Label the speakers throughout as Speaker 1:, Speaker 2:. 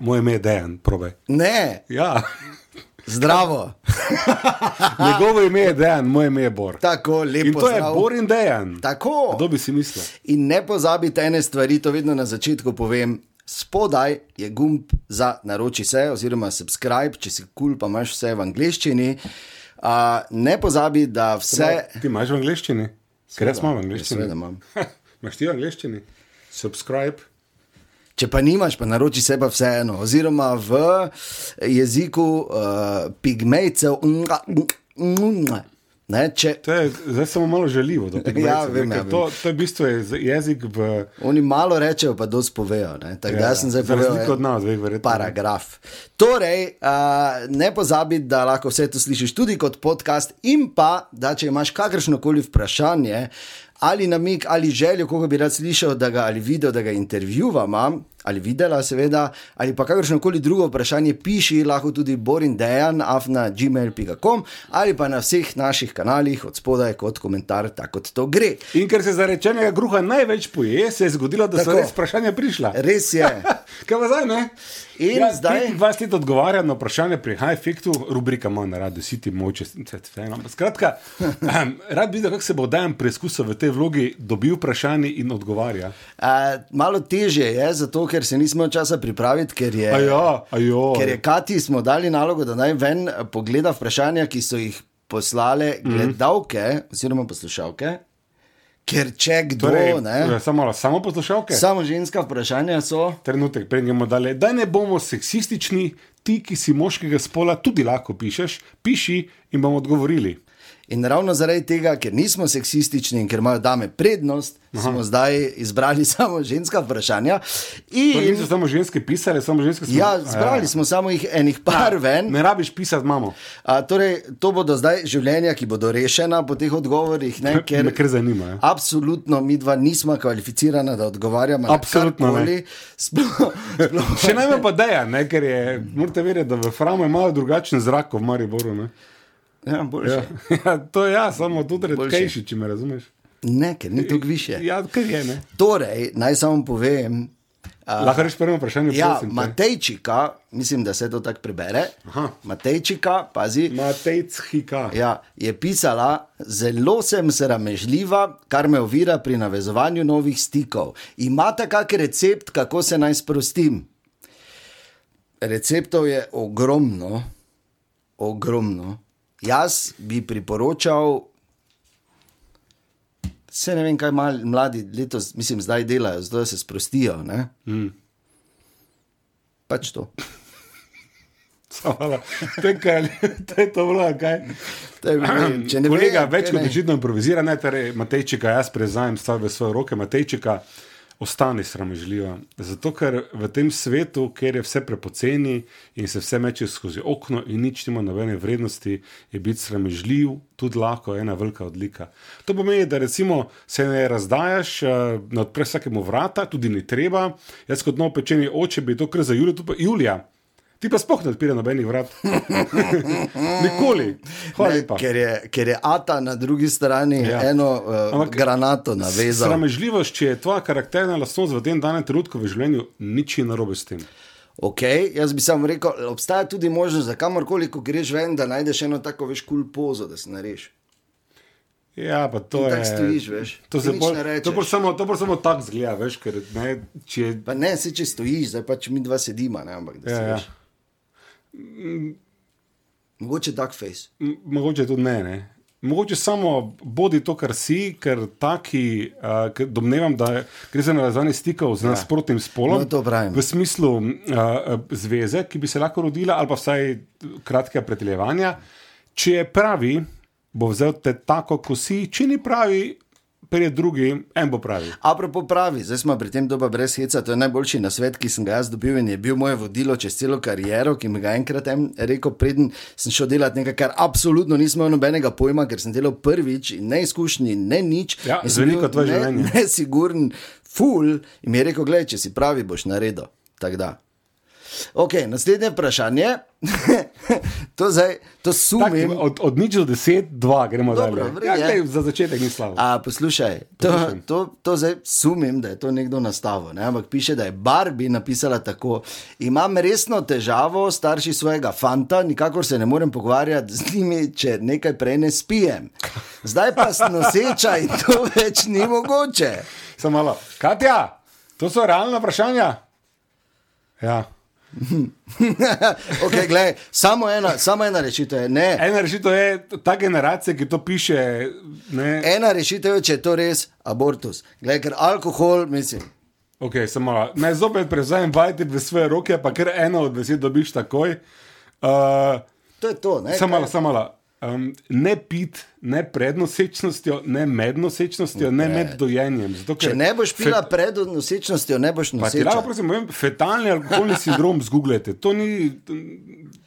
Speaker 1: Moje ime je Dejan, probe.
Speaker 2: Ne,
Speaker 1: Ja,
Speaker 2: zdravo,
Speaker 1: njegovo ime je Dejan, moje ime je Bor.
Speaker 2: tako
Speaker 1: In
Speaker 2: lepo
Speaker 1: to je
Speaker 2: zdrav.
Speaker 1: Bor in Dejan.
Speaker 2: Tako.
Speaker 1: Kdo bi si mislil?
Speaker 2: In ne pozabite ene stvari, to vedno na začetku povem. Spodaj je gumb za naroči se, oziroma subscribe, če si kul, cool, pa imaš vse v angleščini. Uh, ne pozabi, da vse.
Speaker 1: No, Ti imaš v angleščini? Ker jaz imam v
Speaker 2: Seveda
Speaker 1: angleščini.
Speaker 2: imam.
Speaker 1: Imaš ti v angleščini? Subscribe.
Speaker 2: Če pa nimaš, pa naroči se pa vseeno, oziroma v jeziku uh, pigmejcev. nga, nga, nga, Ne, če
Speaker 1: To je zdaj samo malo žaljivo. do pigmejcev,
Speaker 2: Ja, vem,
Speaker 1: ne,
Speaker 2: ja,
Speaker 1: ker to, to je v bistvu je z- jezik v.
Speaker 2: Oni malo rečejo, pa dosti povejo. ne. Tako da
Speaker 1: Ja,
Speaker 2: jaz sem zdaj
Speaker 1: za
Speaker 2: povedal
Speaker 1: razliko
Speaker 2: en
Speaker 1: od nas dveh, verjetno.
Speaker 2: Paragraf. Torej, uh, ne pozabi, da lahko vse to slišiš tudi kot podcast, in pa da če imaš kakršno koli vprašanje. Ali namig, ali željo, koga bi rad slišal, da ga ali videl, da ga intervjuvamo, ali videla, seveda, ali pa kakršno koli drugo vprašanje, piši lahko tudi borindejan, afna gmail.com ali pa na vseh naših kanalih od spodaj kot komentar, tako kot to gre.
Speaker 1: In ker se zarečenega kruha največ poje, se je zgodilo, da so
Speaker 2: Tako. Ja,
Speaker 1: res vprašanja prišla.
Speaker 2: Res je.
Speaker 1: Kaj pa zdaj, ne? Ja,
Speaker 2: In zdaj?
Speaker 1: 25 let odgovarjam na vprašanje pri Hajfiktu, rubrika ima na radu, si ti moče, vseeno. Ampak Skratka, um, rad bi videl, kako se bo Dajan preizkusil v tej vlogi, dobil vprašanje in odgovarja.
Speaker 2: Uh, malo težje je, zato ker se nismo imeli časa pripraviti, ker je,
Speaker 1: Ajo, ajo.
Speaker 2: ker je Kati smo dali nalogo, da naj ven eh, pogleda vprašanja, ki so jih poslale gledalke mm. oziroma poslušalke. Ker če kdo,
Speaker 1: Torej,
Speaker 2: ne,
Speaker 1: samo, malo, samo poslušalke.
Speaker 2: samo ženska vprašanja so.
Speaker 1: Trenutek, prejmo dalje. Da ne bomo seksistični, ti, ki si moškega spola, tudi lahko pišeš, piši in bomo odgovorili.
Speaker 2: In ravno zaradi tega, ker nismo seksistični in ker imajo dame prednost, Aha. smo zdaj izbrali samo ženska vprašanja.
Speaker 1: Torej,
Speaker 2: In,
Speaker 1: niso samo ženske pisale, samo ženske smo eh,
Speaker 2: ja, zbrali smo samo jih enih par ven.
Speaker 1: Ne rabiš pisati, imamo.
Speaker 2: A, torej, to bodo zdaj življenja, ki bodo rešena po teh odgovorih. Ne, ker,
Speaker 1: Me kar zanima, ja.
Speaker 2: Absolutno, mi dva nismo kvalificirana, da odgovarjamo
Speaker 1: Absolutno
Speaker 2: na
Speaker 1: ne.
Speaker 2: karkoli. Sploh, sploh,
Speaker 1: Še najmanj pa deja, ne, ker je, morate verjeti, da v Framu je malo drugačen zrak kot v Mariboru. Ne.
Speaker 2: ja, boljše.
Speaker 1: Ja, ja, to je ja, samo tudi
Speaker 2: Boljše.
Speaker 1: redkejši, če me razumeš.
Speaker 2: Ne, ker ni tako više.
Speaker 1: Ja, kar je, ne.
Speaker 2: Torej, naj samo povem. a,
Speaker 1: Lahko rečeš prvo vprašanje,
Speaker 2: Ja,
Speaker 1: prosim. te.
Speaker 2: Matejčika, mislim, da se to tako prebere.
Speaker 1: Aha.
Speaker 2: Matejčika, pazi.
Speaker 1: Matejc Hika.
Speaker 2: Ja, je pisala, zelo sem sramežljiva, kar me ovira pri navezovanju novih stikov. Imate kak recept, kako se naj sprostim? Receptov je ogromno, ogromno. Jaz bi priporočal, vse ne vem, kaj mal, mladi letos, mislim, zdaj delajo, zdaj se sprostijo. Ne?
Speaker 1: Mm.
Speaker 2: Pač to.
Speaker 1: Hvala. Tekaj, to je to bila, kaj.
Speaker 2: To je, bilo- če ne
Speaker 1: Kolega,
Speaker 2: ve,
Speaker 1: več
Speaker 2: kaj
Speaker 1: kot
Speaker 2: naj.
Speaker 1: očitno improvizira, ne torej Matejčika, jaz prezajemam stvar v svoje roke, Matejčika. Ostani sramežljiva. Zato, ker v tem svetu, kjer je vse prepoceni in se vse meče skozi okno, in nič nima nobene vrednosti, je biti sramežljiv tudi lahko ena velika odlika. To pomeni, da recimo se ne razdajaš, eh, ne odpreš vsakemu vrata, tudi ni treba. Jaz kot nov pečeni oče bi to kar za Julijo, tu pa Julija. Ti pa spohne odpira nobenih vrat. Nikoli. Hvala
Speaker 2: Ne,
Speaker 1: lepa.
Speaker 2: Ker je, ker je Ata na drugi strani
Speaker 1: Ja.
Speaker 2: ja. eno uh,
Speaker 1: Ampak-
Speaker 2: Ampak, granato navezal.
Speaker 1: Sramežljivost, če je tvoja karakterna lastnost v tem danem trenutku v življenju, nič je narobe s tem.
Speaker 2: Okay, jaz bi samo rekel, obstaja tudi možnost, da kamorkoli ko greš ven, da najdeš eno tako veš kul cool pozo, da se nareš.
Speaker 1: Ja, pa to je.
Speaker 2: In tako stojiš, veš.
Speaker 1: To se
Speaker 2: Nič
Speaker 1: bolj,
Speaker 2: ne rečeš.
Speaker 1: to bolj samo, to bolj samo tako zgleda, veš, ker ne, če je.
Speaker 2: Pa ne, se če stojiš, zdaj pač mi dva sedima, ne, ampak da
Speaker 1: Ja,
Speaker 2: se
Speaker 1: ja.
Speaker 2: veš. Mogoče duck face.
Speaker 1: M- Mogoče tudi ne, ne. Mogoče samo bodi to, kar si, ker taki, uh, ker domnevam, da gre za navezanje stikov z ja. nasprotnim spolom.
Speaker 2: No, to pravim.
Speaker 1: v smislu uh, zveze, ki bi se lahko rodila, ali pa vsaj kratkega preteljevanja. Če je pravi, bo vzel te tako, kot si, če ni pravi, prije drugi, en bo pravi.
Speaker 2: Apropo pravi, zdaj smo pri tem doba brez heca, to je najboljši nasvet, ki sem ga jaz dobil in je bil moje vodilo čez celo kariero, ki mi ga je enkrat en rekel, preden sem šel delati nekaj, kar absolutno nisem imel nobenega pojma, ker sem delal prvič in neizkušnji, ne nič.
Speaker 1: Ja,
Speaker 2: In sem
Speaker 1: veliko
Speaker 2: bil
Speaker 1: tvoje
Speaker 2: ne-
Speaker 1: življenje.
Speaker 2: Nesiguren, ful in mi je rekel, gledaj, če si pravi, boš naredil. Tako da. Okay, naslednje vprašanje. to, zdaj, to
Speaker 1: Tak,
Speaker 2: sumim.
Speaker 1: od, od nič do deset, dva, gremo
Speaker 2: Dobro, v
Speaker 1: dalje.
Speaker 2: redu,
Speaker 1: Ja,
Speaker 2: ja.
Speaker 1: glej, za začetek ni slabo.
Speaker 2: A, poslušaj, to,
Speaker 1: Poslušam.
Speaker 2: to, to zdaj sumim, da je to nekdo nastavil, ne? ampak piše, da je Barbie napisala tako: Imam resno težavo, starši svojega fanta, nikakor se ne morem pogovarjati z njimi, če nekaj prej ne spijem. Zdaj pa sem noseča in to več ni mogoče.
Speaker 1: Samo malo. Katja, to so realna vprašanja. Ja.
Speaker 2: okay, glej, samo, ena, samo ena rešitev je ne.
Speaker 1: Ena rešitev je ta generacija, ki to piše. Ne,
Speaker 2: Ena rešitev je, če je to res abortus. Glej, ker alkohol, mislim.
Speaker 1: Okay, samo malo. Naj zopet prevzamem vajeti v svoje roke, pa ker eno od deset dobiš takoj. Uh,
Speaker 2: To je to. Ne,
Speaker 1: samo malo, samo malo. Um, ne pit, ne pred nosečnostjo, ne med nosečnostjo, ne med dojenjem. Zato, ker
Speaker 2: Če ne boš pila pred nosečnostjo, ne boš
Speaker 1: Ti lahko,
Speaker 2: noseča.
Speaker 1: prosim, povem, fetalni alkoholni sindrom zgooglete. To ni,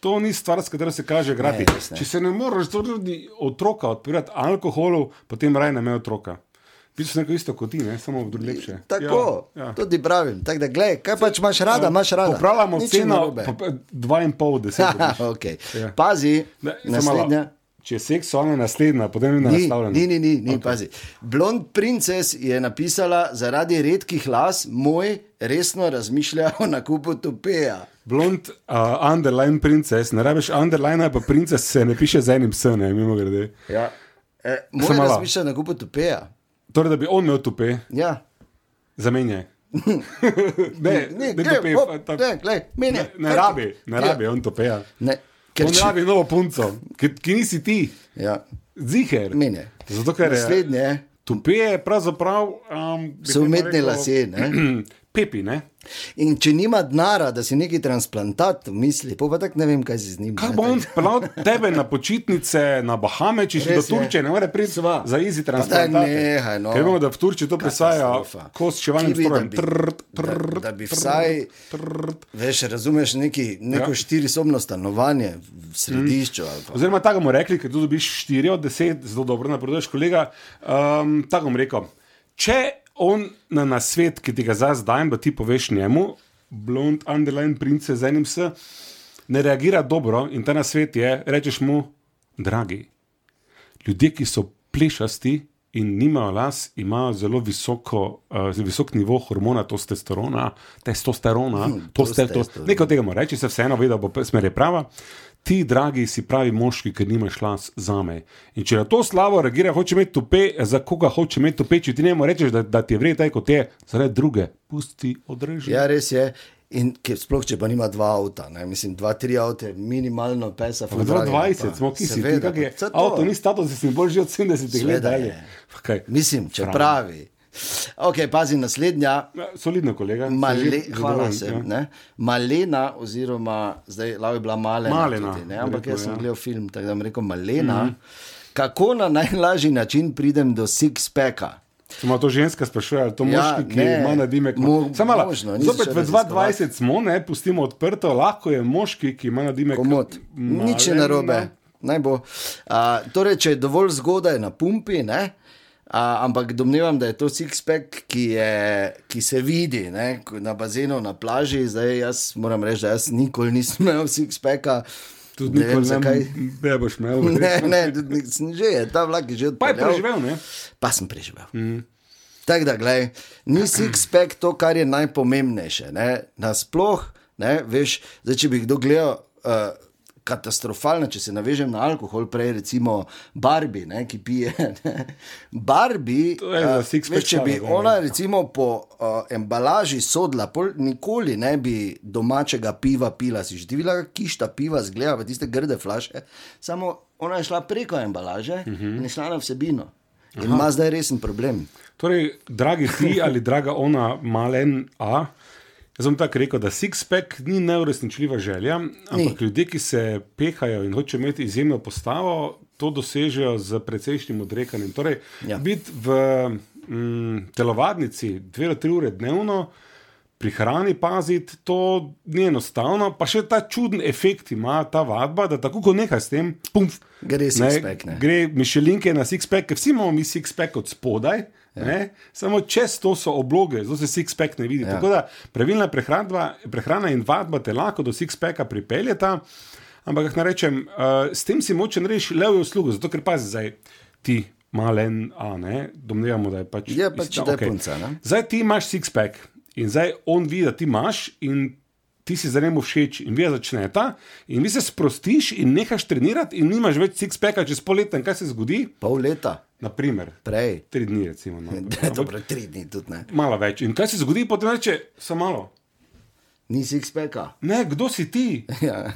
Speaker 1: to ni stvar, s katero se kaže igrati.
Speaker 2: Ne, res ne.
Speaker 1: Če se ne moreš tudi otroka odpirati alkoholu, potem raj ne me otroka. Piš neko isto kot ti, ne? samo lepše.
Speaker 2: Tako, ja, ja. tudi pravim. Tako da, glej, kaj pač imaš rada, imaš rada.
Speaker 1: Ja, Popravljamo
Speaker 2: Nič ni
Speaker 1: ceno,
Speaker 2: narobe.
Speaker 1: pa, pa, dva in pol, deset. dobiš.
Speaker 2: okay.
Speaker 1: Ja.
Speaker 2: Pazi,
Speaker 1: Ne, samo malo.
Speaker 2: naslednja.
Speaker 1: Če je seksualno naslednja, potem je
Speaker 2: Ni,
Speaker 1: nastavljena.
Speaker 2: ni, ni, ni, ni okay. pazi. Blond princes je napisala, zaradi redkih las, moj resno razmišlja o nakupu tupeja.
Speaker 1: Blond, uh, underline princes, ne rabiš underline, pa princes se ne piše z enim s, ne, mimo grede.
Speaker 2: Ja. E, moj
Speaker 1: Samo malo.
Speaker 2: razmišlja o nakupu tupeja.
Speaker 1: Torej, da bi on imel tupe,
Speaker 2: Ja.
Speaker 1: zamenjaj. ne, ne, ne,
Speaker 2: glej,
Speaker 1: tupe,
Speaker 2: hop,
Speaker 1: pa tak-
Speaker 2: ne, glej, meni
Speaker 1: ne,
Speaker 2: je- Ja.
Speaker 1: ne rabi, ne rabi, on tupeja.
Speaker 2: Ne, ker
Speaker 1: On
Speaker 2: če-
Speaker 1: rabi novo punco, ki, ki nisi ti,
Speaker 2: Ja,
Speaker 1: ziher.
Speaker 2: meni je.
Speaker 1: Zato, ker je
Speaker 2: Naslednje
Speaker 1: tupe je pravzaprav. Um, bi
Speaker 2: so Ja,
Speaker 1: temu
Speaker 2: umetni
Speaker 1: rekel,
Speaker 2: lasje. Ne?
Speaker 1: Pepi, ne?
Speaker 2: In če nima denarja, da si neki transplantat, misli, pol pa tako ne vem, kaj si z njim.
Speaker 1: Kaj
Speaker 2: ne,
Speaker 1: bo
Speaker 2: tako.
Speaker 1: on pelal tebe na počitnice, na Bahame, če še do
Speaker 2: Res je.
Speaker 1: Turčije, ne more priti
Speaker 2: Sva.
Speaker 1: za izi
Speaker 2: Pa
Speaker 1: transplantat.
Speaker 2: daj nehaj, no.
Speaker 1: Ker vemo, da v Turčiji to presaja
Speaker 2: Katastrofa.
Speaker 1: kost s čevalnim
Speaker 2: Ki bi, da
Speaker 1: strojem.
Speaker 2: bi-
Speaker 1: Trrt,
Speaker 2: Da,
Speaker 1: trrt,
Speaker 2: da bi vsaj,
Speaker 1: trrt.
Speaker 2: veš, razumeš neki, neko ja. štirisobno stanovanje v središču. ali pa-
Speaker 1: Oziroma, tako bomo rekli, ker tu dobiš 4 od 10, zelo dobro napreduješ, kolega. Um, tako bom rekel. Če on na nasvet, ki ti ga zdaj dajem, da ti poveš njemu, blond, underline, prince z enim s, ne reagira dobro in ta nasvet je, rečeš mu, dragi. ljudje, ki so plešasti in nimajo las, imajo zelo visoko, uh, visok nivo hormona testosterona, testosterona, hmm, testosterona.
Speaker 2: testosteron.
Speaker 1: Nekaj od tega mora reči, se vseeno ve, da bo pe- smer je prava. Ti, dragi, si pravi moški, ker nimaš las za me. In če na to slavo reagira, hoče imeti tope, za koga hoče imeti tope, če ti ne moreš reči, da, da ti je vredno, tako kot je, zaradi druge, pusti odreži.
Speaker 2: Ja, res je. In ker sploh če pa nima dva avta, ne? mislim, dva, tri avte, minimalno pesa. ful
Speaker 1: V
Speaker 2: dragi, pa.
Speaker 1: 22 smo, ki si ti,
Speaker 2: Seveda,
Speaker 1: kak je.
Speaker 2: pa- saj to.
Speaker 1: Avto ni status, si bolj že od 70 let
Speaker 2: Seveda
Speaker 1: dalje.
Speaker 2: je.
Speaker 1: Pa kaj?
Speaker 2: Mislim, če
Speaker 1: Pravi.
Speaker 2: pravi. Ok, pazi, naslednja.
Speaker 1: Ja, Solidno, kolega. sem že
Speaker 2: Male,
Speaker 1: zadovoljen,
Speaker 2: hvala
Speaker 1: ja.
Speaker 2: sem. Ja. Malena, oziroma zdaj Lau je bila Malena.
Speaker 1: Malena,
Speaker 2: tudi, ne? Ampak
Speaker 1: verjetno,
Speaker 2: jaz sem
Speaker 1: ja. Mhm.
Speaker 2: gledal film, tako da sem rekel Malena. Mm -hmm. Kako na najlažji način pridem do six-packa?
Speaker 1: Se ima to ženska sprašuje, ali to
Speaker 2: Ja,
Speaker 1: moški, ki
Speaker 2: ne,
Speaker 1: ima na dimek.
Speaker 2: mo-
Speaker 1: Samo malo,
Speaker 2: možno, nisem
Speaker 1: zopet
Speaker 2: šel
Speaker 1: v
Speaker 2: raziskovat.
Speaker 1: 22 smo, ne, pustimo odprto, lahko je moški, ki ima na dimek.
Speaker 2: Komod,
Speaker 1: malena.
Speaker 2: nič je narobe. Naj bo. A, torej, če je dovolj zgodaj na pumpi, ne? A, ampak domnevam, da je to six-pack, ki, je- ki se vidi ne? ko na bazenu, na plaži. Zdaj, jaz moram reči, da jaz nikoli nisem imel six-packa.
Speaker 1: Tudi
Speaker 2: ne vem,
Speaker 1: nikoli
Speaker 2: zakaj.
Speaker 1: ne, ne boš imel.
Speaker 2: Ne,
Speaker 1: verjetno.
Speaker 2: ne, tudi nik- sem že je, ta vlak je že
Speaker 1: Pa je
Speaker 2: odpeljal.
Speaker 1: preživel, ne?
Speaker 2: Pa sem preživel. Mm. Tako da, gledaj, ni six-pack to, kar je najpomembnejše. Ne? Nasploh, ne, veš, zdaj, če bi kdo gledal. Uh, Katastrofalno, če se navežem na alkohol, prej recimo Barbie, ne, ki pije. ne. Barbie,
Speaker 1: To je za
Speaker 2: a,
Speaker 1: six-pack
Speaker 2: veš, če bi
Speaker 1: šala, ne.
Speaker 2: ona recimo po uh, embalaži sodla, pol, nikoli ne bi domačega piva pila, si že ti videla, kišta piva, zgleda v tiste grde flaše. Samo ona je šla preko embalaže uh -huh. in je šla na vsebino. In Aha. ima zdaj resen problem.
Speaker 1: Torej, dragi ti ali draga ona, malen A. Jaz sem tako rekel, da six-pack ni neuresničljiva želja, ampak ni. ljudje, ki se pehajo in hočejo imeti izjemno postavo, to dosežejo z precejšnjim odrekanjem. Torej, ja.
Speaker 2: Ja.
Speaker 1: Biti v mm, telovadnici dve ali tri ure dnevno, pri hrani paziti, to ni enostavno, pa še ta čuden efekt ima ta vadba, da tako kot nekaj s tem, pumf,
Speaker 2: Gre six-pack, ne.
Speaker 1: gre mišelinke na six-pack, ker vsi imamo mi six-pack od spodaj, Ja. Samo čez to so obloge, zelo se six-pack ne vidi. Ja. Tako da pravilna prehrana, prehrana in vadba te lahko do six-packa pripeljeta, ampak kako rečem, uh, s tem si močen reči levjo uslugo, zato ker pazi zdaj ti. Malen, a ne, domnevamo, da je pač.
Speaker 2: Je pač
Speaker 1: ista-
Speaker 2: da je
Speaker 1: okej.
Speaker 2: punca, ne?
Speaker 1: Zdaj ti imaš six-pack in zdaj on vidi, da ti imaš in ti si za njim všeč in vi začneta in vi se sprostiš in nehaš trenirati in nimaš več six-packa čez pol leta in kaj se zgodi?
Speaker 2: Pol leta
Speaker 1: Naprimer,
Speaker 2: prej.
Speaker 1: tri dni recimo. No.
Speaker 2: Dobro, tri dni tudi ne.
Speaker 1: Malo več. In kaj se zgodi, potem reče, samo malo.
Speaker 2: Ni six peka.
Speaker 1: Ne, kdo si ti?
Speaker 2: Ja.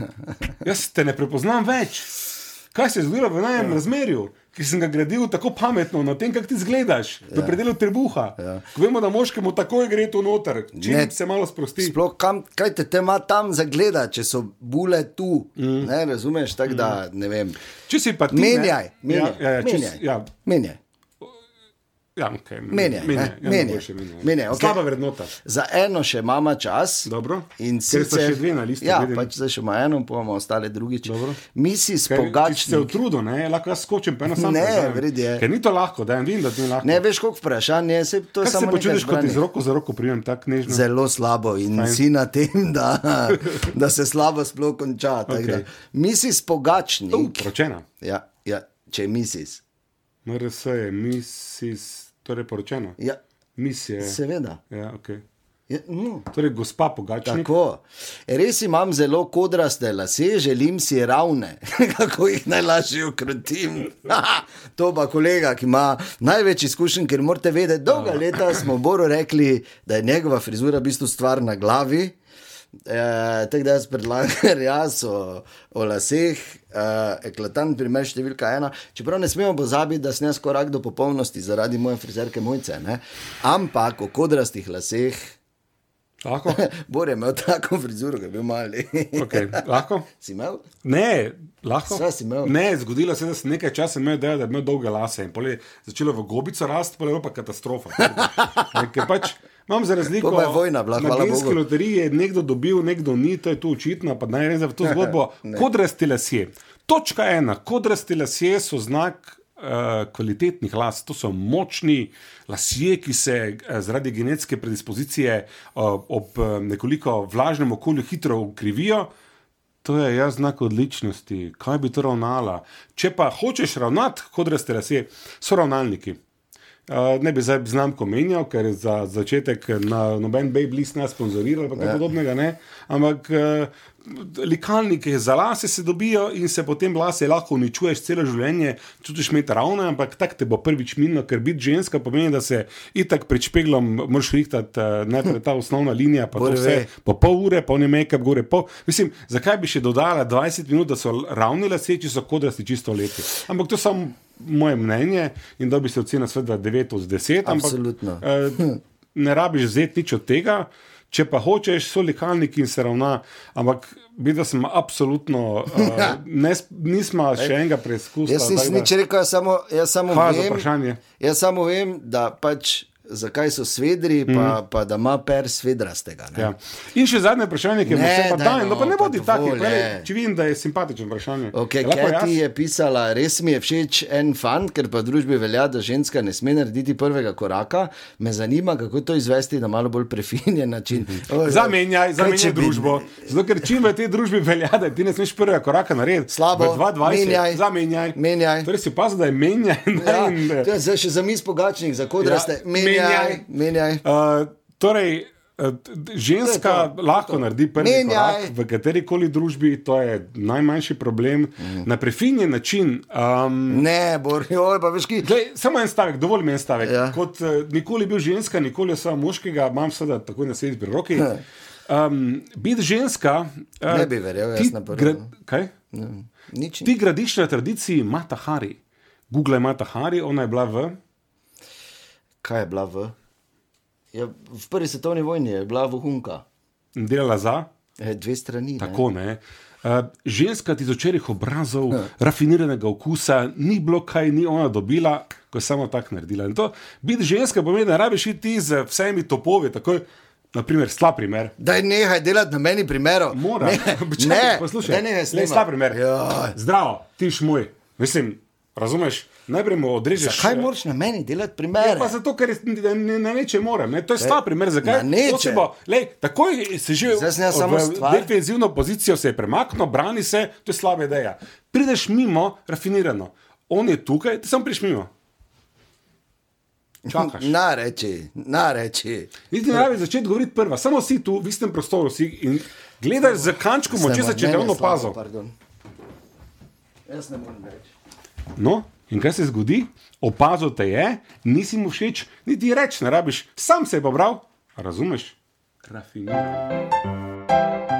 Speaker 1: Jaz te ne prepoznam več. Kaj se je zgodilo v najem ja. razmerju, ki sem ga gradil tako pametno, na tem, kako ti zgledaš, ja. v predelu trebuha. Ja. Vemo, da moškemu takoj gre to noter, če
Speaker 2: Ne.
Speaker 1: ne. se malo sprosti.
Speaker 2: Sploh kam, kaj te, te ima tam zagleda, če so bule tu. Mm. Ne, razumeš, tako da ne vem.
Speaker 1: Če si pa Mm. ti. ne-
Speaker 2: Menjaj, menjaj,
Speaker 1: Ja, ja, ja, če si-
Speaker 2: menjaj.
Speaker 1: ja,
Speaker 2: menjaj.
Speaker 1: ja, okay, menjaj,
Speaker 2: Menjaj, ne,
Speaker 1: ja,
Speaker 2: menjaj.
Speaker 1: najboljše menjaj.
Speaker 2: Menjaj, okej.
Speaker 1: Slaba vrednota.
Speaker 2: Za eno še imamo čas.
Speaker 1: Dobro.
Speaker 2: In
Speaker 1: Ker sta
Speaker 2: sicer,
Speaker 1: še dve na listi,
Speaker 2: Ja,
Speaker 1: vidim.
Speaker 2: pač zdaj še ima eno, pa imamo ostale drugič.
Speaker 1: Dobro.
Speaker 2: Mi si
Speaker 1: Ker če si se
Speaker 2: spogačni.
Speaker 1: utrudil, ne, lahko jaz skočim, pa eno samo.
Speaker 2: Ne,
Speaker 1: prežamem.
Speaker 2: v redu je.
Speaker 1: Ker ni to lahko, da en vidim, da ti ni lahko.
Speaker 2: Ne veš, koliko vprašanj je, se to je
Speaker 1: Kaj se
Speaker 2: samo nekaj
Speaker 1: počutiš, ko ti
Speaker 2: zbranih.
Speaker 1: z roko za roko pridem tako nežno?
Speaker 2: Mhm. Zelo slabo in Fajn. si na tem, da, da se slabo sploh konča. Okay. Da.
Speaker 1: Okej.
Speaker 2: Misi spogačni.
Speaker 1: Poročena.
Speaker 2: Ja, ja, če misiš.
Speaker 1: MRS je, misis, torej poročena.
Speaker 2: Ja,
Speaker 1: Mis je.
Speaker 2: seveda.
Speaker 1: Ja, okay.
Speaker 2: Ja, no.
Speaker 1: Torej, gospa Pogačnik.
Speaker 2: Tako. Res imam zelo kodraste lase, želim si ravne, kako jih najlažje ukrotim. to pa kolega, ki ima največ izkušenj, ker morate vedeti, dolga leta smo Boru rekli, da je njegova frizura v bistvu stvar na glavi. E, tako da jaz predlagam, jaz o, o laseh, e, eklatant primer številka ena. Čeprav ne smemo pozabiti, da sem jaz korak do popolnosti zaradi moje frizerke Mojce, ne? ampak o kodrastih laseh.
Speaker 1: Lahko?
Speaker 2: Bor je imel tako frizuro, da je bil mali.
Speaker 1: Okay. lahko?
Speaker 2: si imel?
Speaker 1: Ne, lahko.
Speaker 2: Saj si imel.
Speaker 1: Ne, zgodilo se je, da sem nekaj časa imel, idejo, da je imel dolge lase. In pol je začelo v gobico rasti, pa je pa katastrofa. Ne, ker pač, Imam za razliko
Speaker 2: To pa je vojna bila, hvala
Speaker 1: Magnetske
Speaker 2: bogu.
Speaker 1: loterije je nekdo dobil, nekdo ni, to je tu očitno, pa naj rečem za to zgodbo. Kodrasti lasje. Točka ena, kodrasti lasje so znak uh, kvalitetnih las, to so močni lasje, ki se uh, zaradi genetske predispozicije uh, ob uh, nekoliko vlažnem okolju hitro ukrivijo. To je jaz znak odličnosti, kaj bi to ravnala.Če pa hočeš ravnati, kot reste lasje, so ravnalniki. Uh, ne bi zdaj znamko menjal, ker je za začetek na, noben Babyliss nas sponzorira ali pa kaj podobnega. Ne? Ampak uh, likalnike za lase se dobijo in se potem lase lahko uničuješ celo življenje, čutiš imeti ravno, ampak tak te bo prvič minilo, ker biti ženska pomeni, da se itak pred špeglom moraš rihtati uh, najprej ta osnovna linija, pa to
Speaker 2: Bore ve.
Speaker 1: vse po pol ure, pa ne make-up gore. Po, mislim, zakaj bi še dodala 20 minut, da so l- ravni lasje, če so kodrasti čisto lepi. Ampak to je samo moje mnenje in da bi se ocena sveda 9 od 10. ampak,
Speaker 2: Absolutno.
Speaker 1: Eh, ne rabiš vzeti nič od tega. Če pa hočeš, so likalniki in se ravna, ampak videl sem absolutno, uh, ne, nismo še enega preizkusa.
Speaker 2: Jaz nisem nič rekel, jaz samo, jaz samo
Speaker 1: Hvala za
Speaker 2: vem.
Speaker 1: vprašanje.
Speaker 2: Jaz samo vem, da pač zakaj so svedri, pa, mm. pa da ima per svedrastega.
Speaker 1: Mhm. Ja. In še zadnje vprašanje, ki je
Speaker 2: Ne,
Speaker 1: bilo še pa
Speaker 2: daj
Speaker 1: dan,
Speaker 2: no,
Speaker 1: no, pa ne
Speaker 2: pa
Speaker 1: bodi taki,
Speaker 2: dovolj,
Speaker 1: glej,
Speaker 2: ne.
Speaker 1: če vidim, da je simpatičen vprašanje.
Speaker 2: Okay,
Speaker 1: Je Ja, lahko jaz?
Speaker 2: Kati je pisala, res mi je všeč en fant, ker pa v družbi velja, da ženska ne sme narediti prvega koraka. Me zanima, kako to izvesti na malo bolj prefinjen način. Oj,
Speaker 1: Mhm. Zamenjaj,
Speaker 2: kaj,
Speaker 1: zamenjaj
Speaker 2: če bi-
Speaker 1: družbo. Zato, ker čim v tej družbi velja, da ti ne smeš prvega koraka narediti.
Speaker 2: Slabo.
Speaker 1: V 2020,
Speaker 2: Menjaj.
Speaker 1: Zamenjaj.
Speaker 2: Menjaj.
Speaker 1: Torej si opazil, da je menjaj. ne,
Speaker 2: Ja,
Speaker 1: in, eh,
Speaker 2: to je zdaj še za mis pogačnih, za kodraste.
Speaker 1: Ja,
Speaker 2: Menjaj,
Speaker 1: menjaj.
Speaker 2: menjaj.
Speaker 1: Uh, torej, uh, t- t- ženska
Speaker 2: To je
Speaker 1: to, lahko to. naredi prvi
Speaker 2: Menjaj.
Speaker 1: Menjaj. korak v kateri koli družbi, to je najmanjši problem.
Speaker 2: Mhm.
Speaker 1: Mm. Na prefinjen način. Um,
Speaker 2: Ne, borijo, pa veš, ki.
Speaker 1: Glej, samo en stavek, dovolj mi je en stavek.
Speaker 2: Ja.
Speaker 1: Ja. Kot eh, nikoli bil ženska, nikoli samo moškega, imam seveda tako na sedi pri roki. Um, Biti ženska. eh,
Speaker 2: Hm. Ne bi verjel, jaz
Speaker 1: ti
Speaker 2: na prvo.
Speaker 1: kaj?
Speaker 2: Nič.
Speaker 1: Ti gradiš na tradiciji Mata Hari. Google je Mata Hari, ona je bila v.
Speaker 2: Kaj je bila v? Ja, v prvi svetovni vojni je bila vohunka.
Speaker 1: delala za.
Speaker 2: E, Dve strani. Tako.
Speaker 1: Tako ne. Uh, ženska iz očerih obrazov,
Speaker 2: Ja.
Speaker 1: rafiniranega okusa, ni bilo kaj, ni ona dobila, ko je samo tako naredila. In to biti ženska pomeni, da ne rabiš iti z vsemi topovi, tako naprimer, slab primer.
Speaker 2: Daj nehaj delati na meni primerov.
Speaker 1: Mora,
Speaker 2: ne,
Speaker 1: Čakaj,
Speaker 2: ne,
Speaker 1: poslušaj.
Speaker 2: daj nehaj
Speaker 1: Lej,
Speaker 2: snemati. Ja,
Speaker 1: slab primer.
Speaker 2: Joj.
Speaker 1: Zdravo, ti šmuj. Mislim, Razumeš? Najprej mu odrežeš.
Speaker 2: Kaj moraš na meni delati
Speaker 1: Ja,
Speaker 2: primere?
Speaker 1: pa zato, ker jaz ne, ne, ne neče moram. Ne? To je slab primer, zakaj
Speaker 2: na neče.
Speaker 1: Oseba, lej, takoj se že
Speaker 2: Zdaj sem jaz samo stvar.
Speaker 1: defenzivno pozicijo se je premaknil, brani se, to je slaba ideja. Prideš mimo, rafinirano. On je tukaj, ti sam priš mimo. Čakaš.
Speaker 2: Na reči, na reči.
Speaker 1: Niti ne rabi začeti govoriti prva, samo si tu, v istem prostoru si in gledaš za kančkom oči, se če te on opazil.
Speaker 2: Jaz ne morem reči.
Speaker 1: No, in kaj se zgodi? Opazil te je, nisi mu všeč, niti reč ne rabiš, sam se je pobral, razumeš? Rafiniran.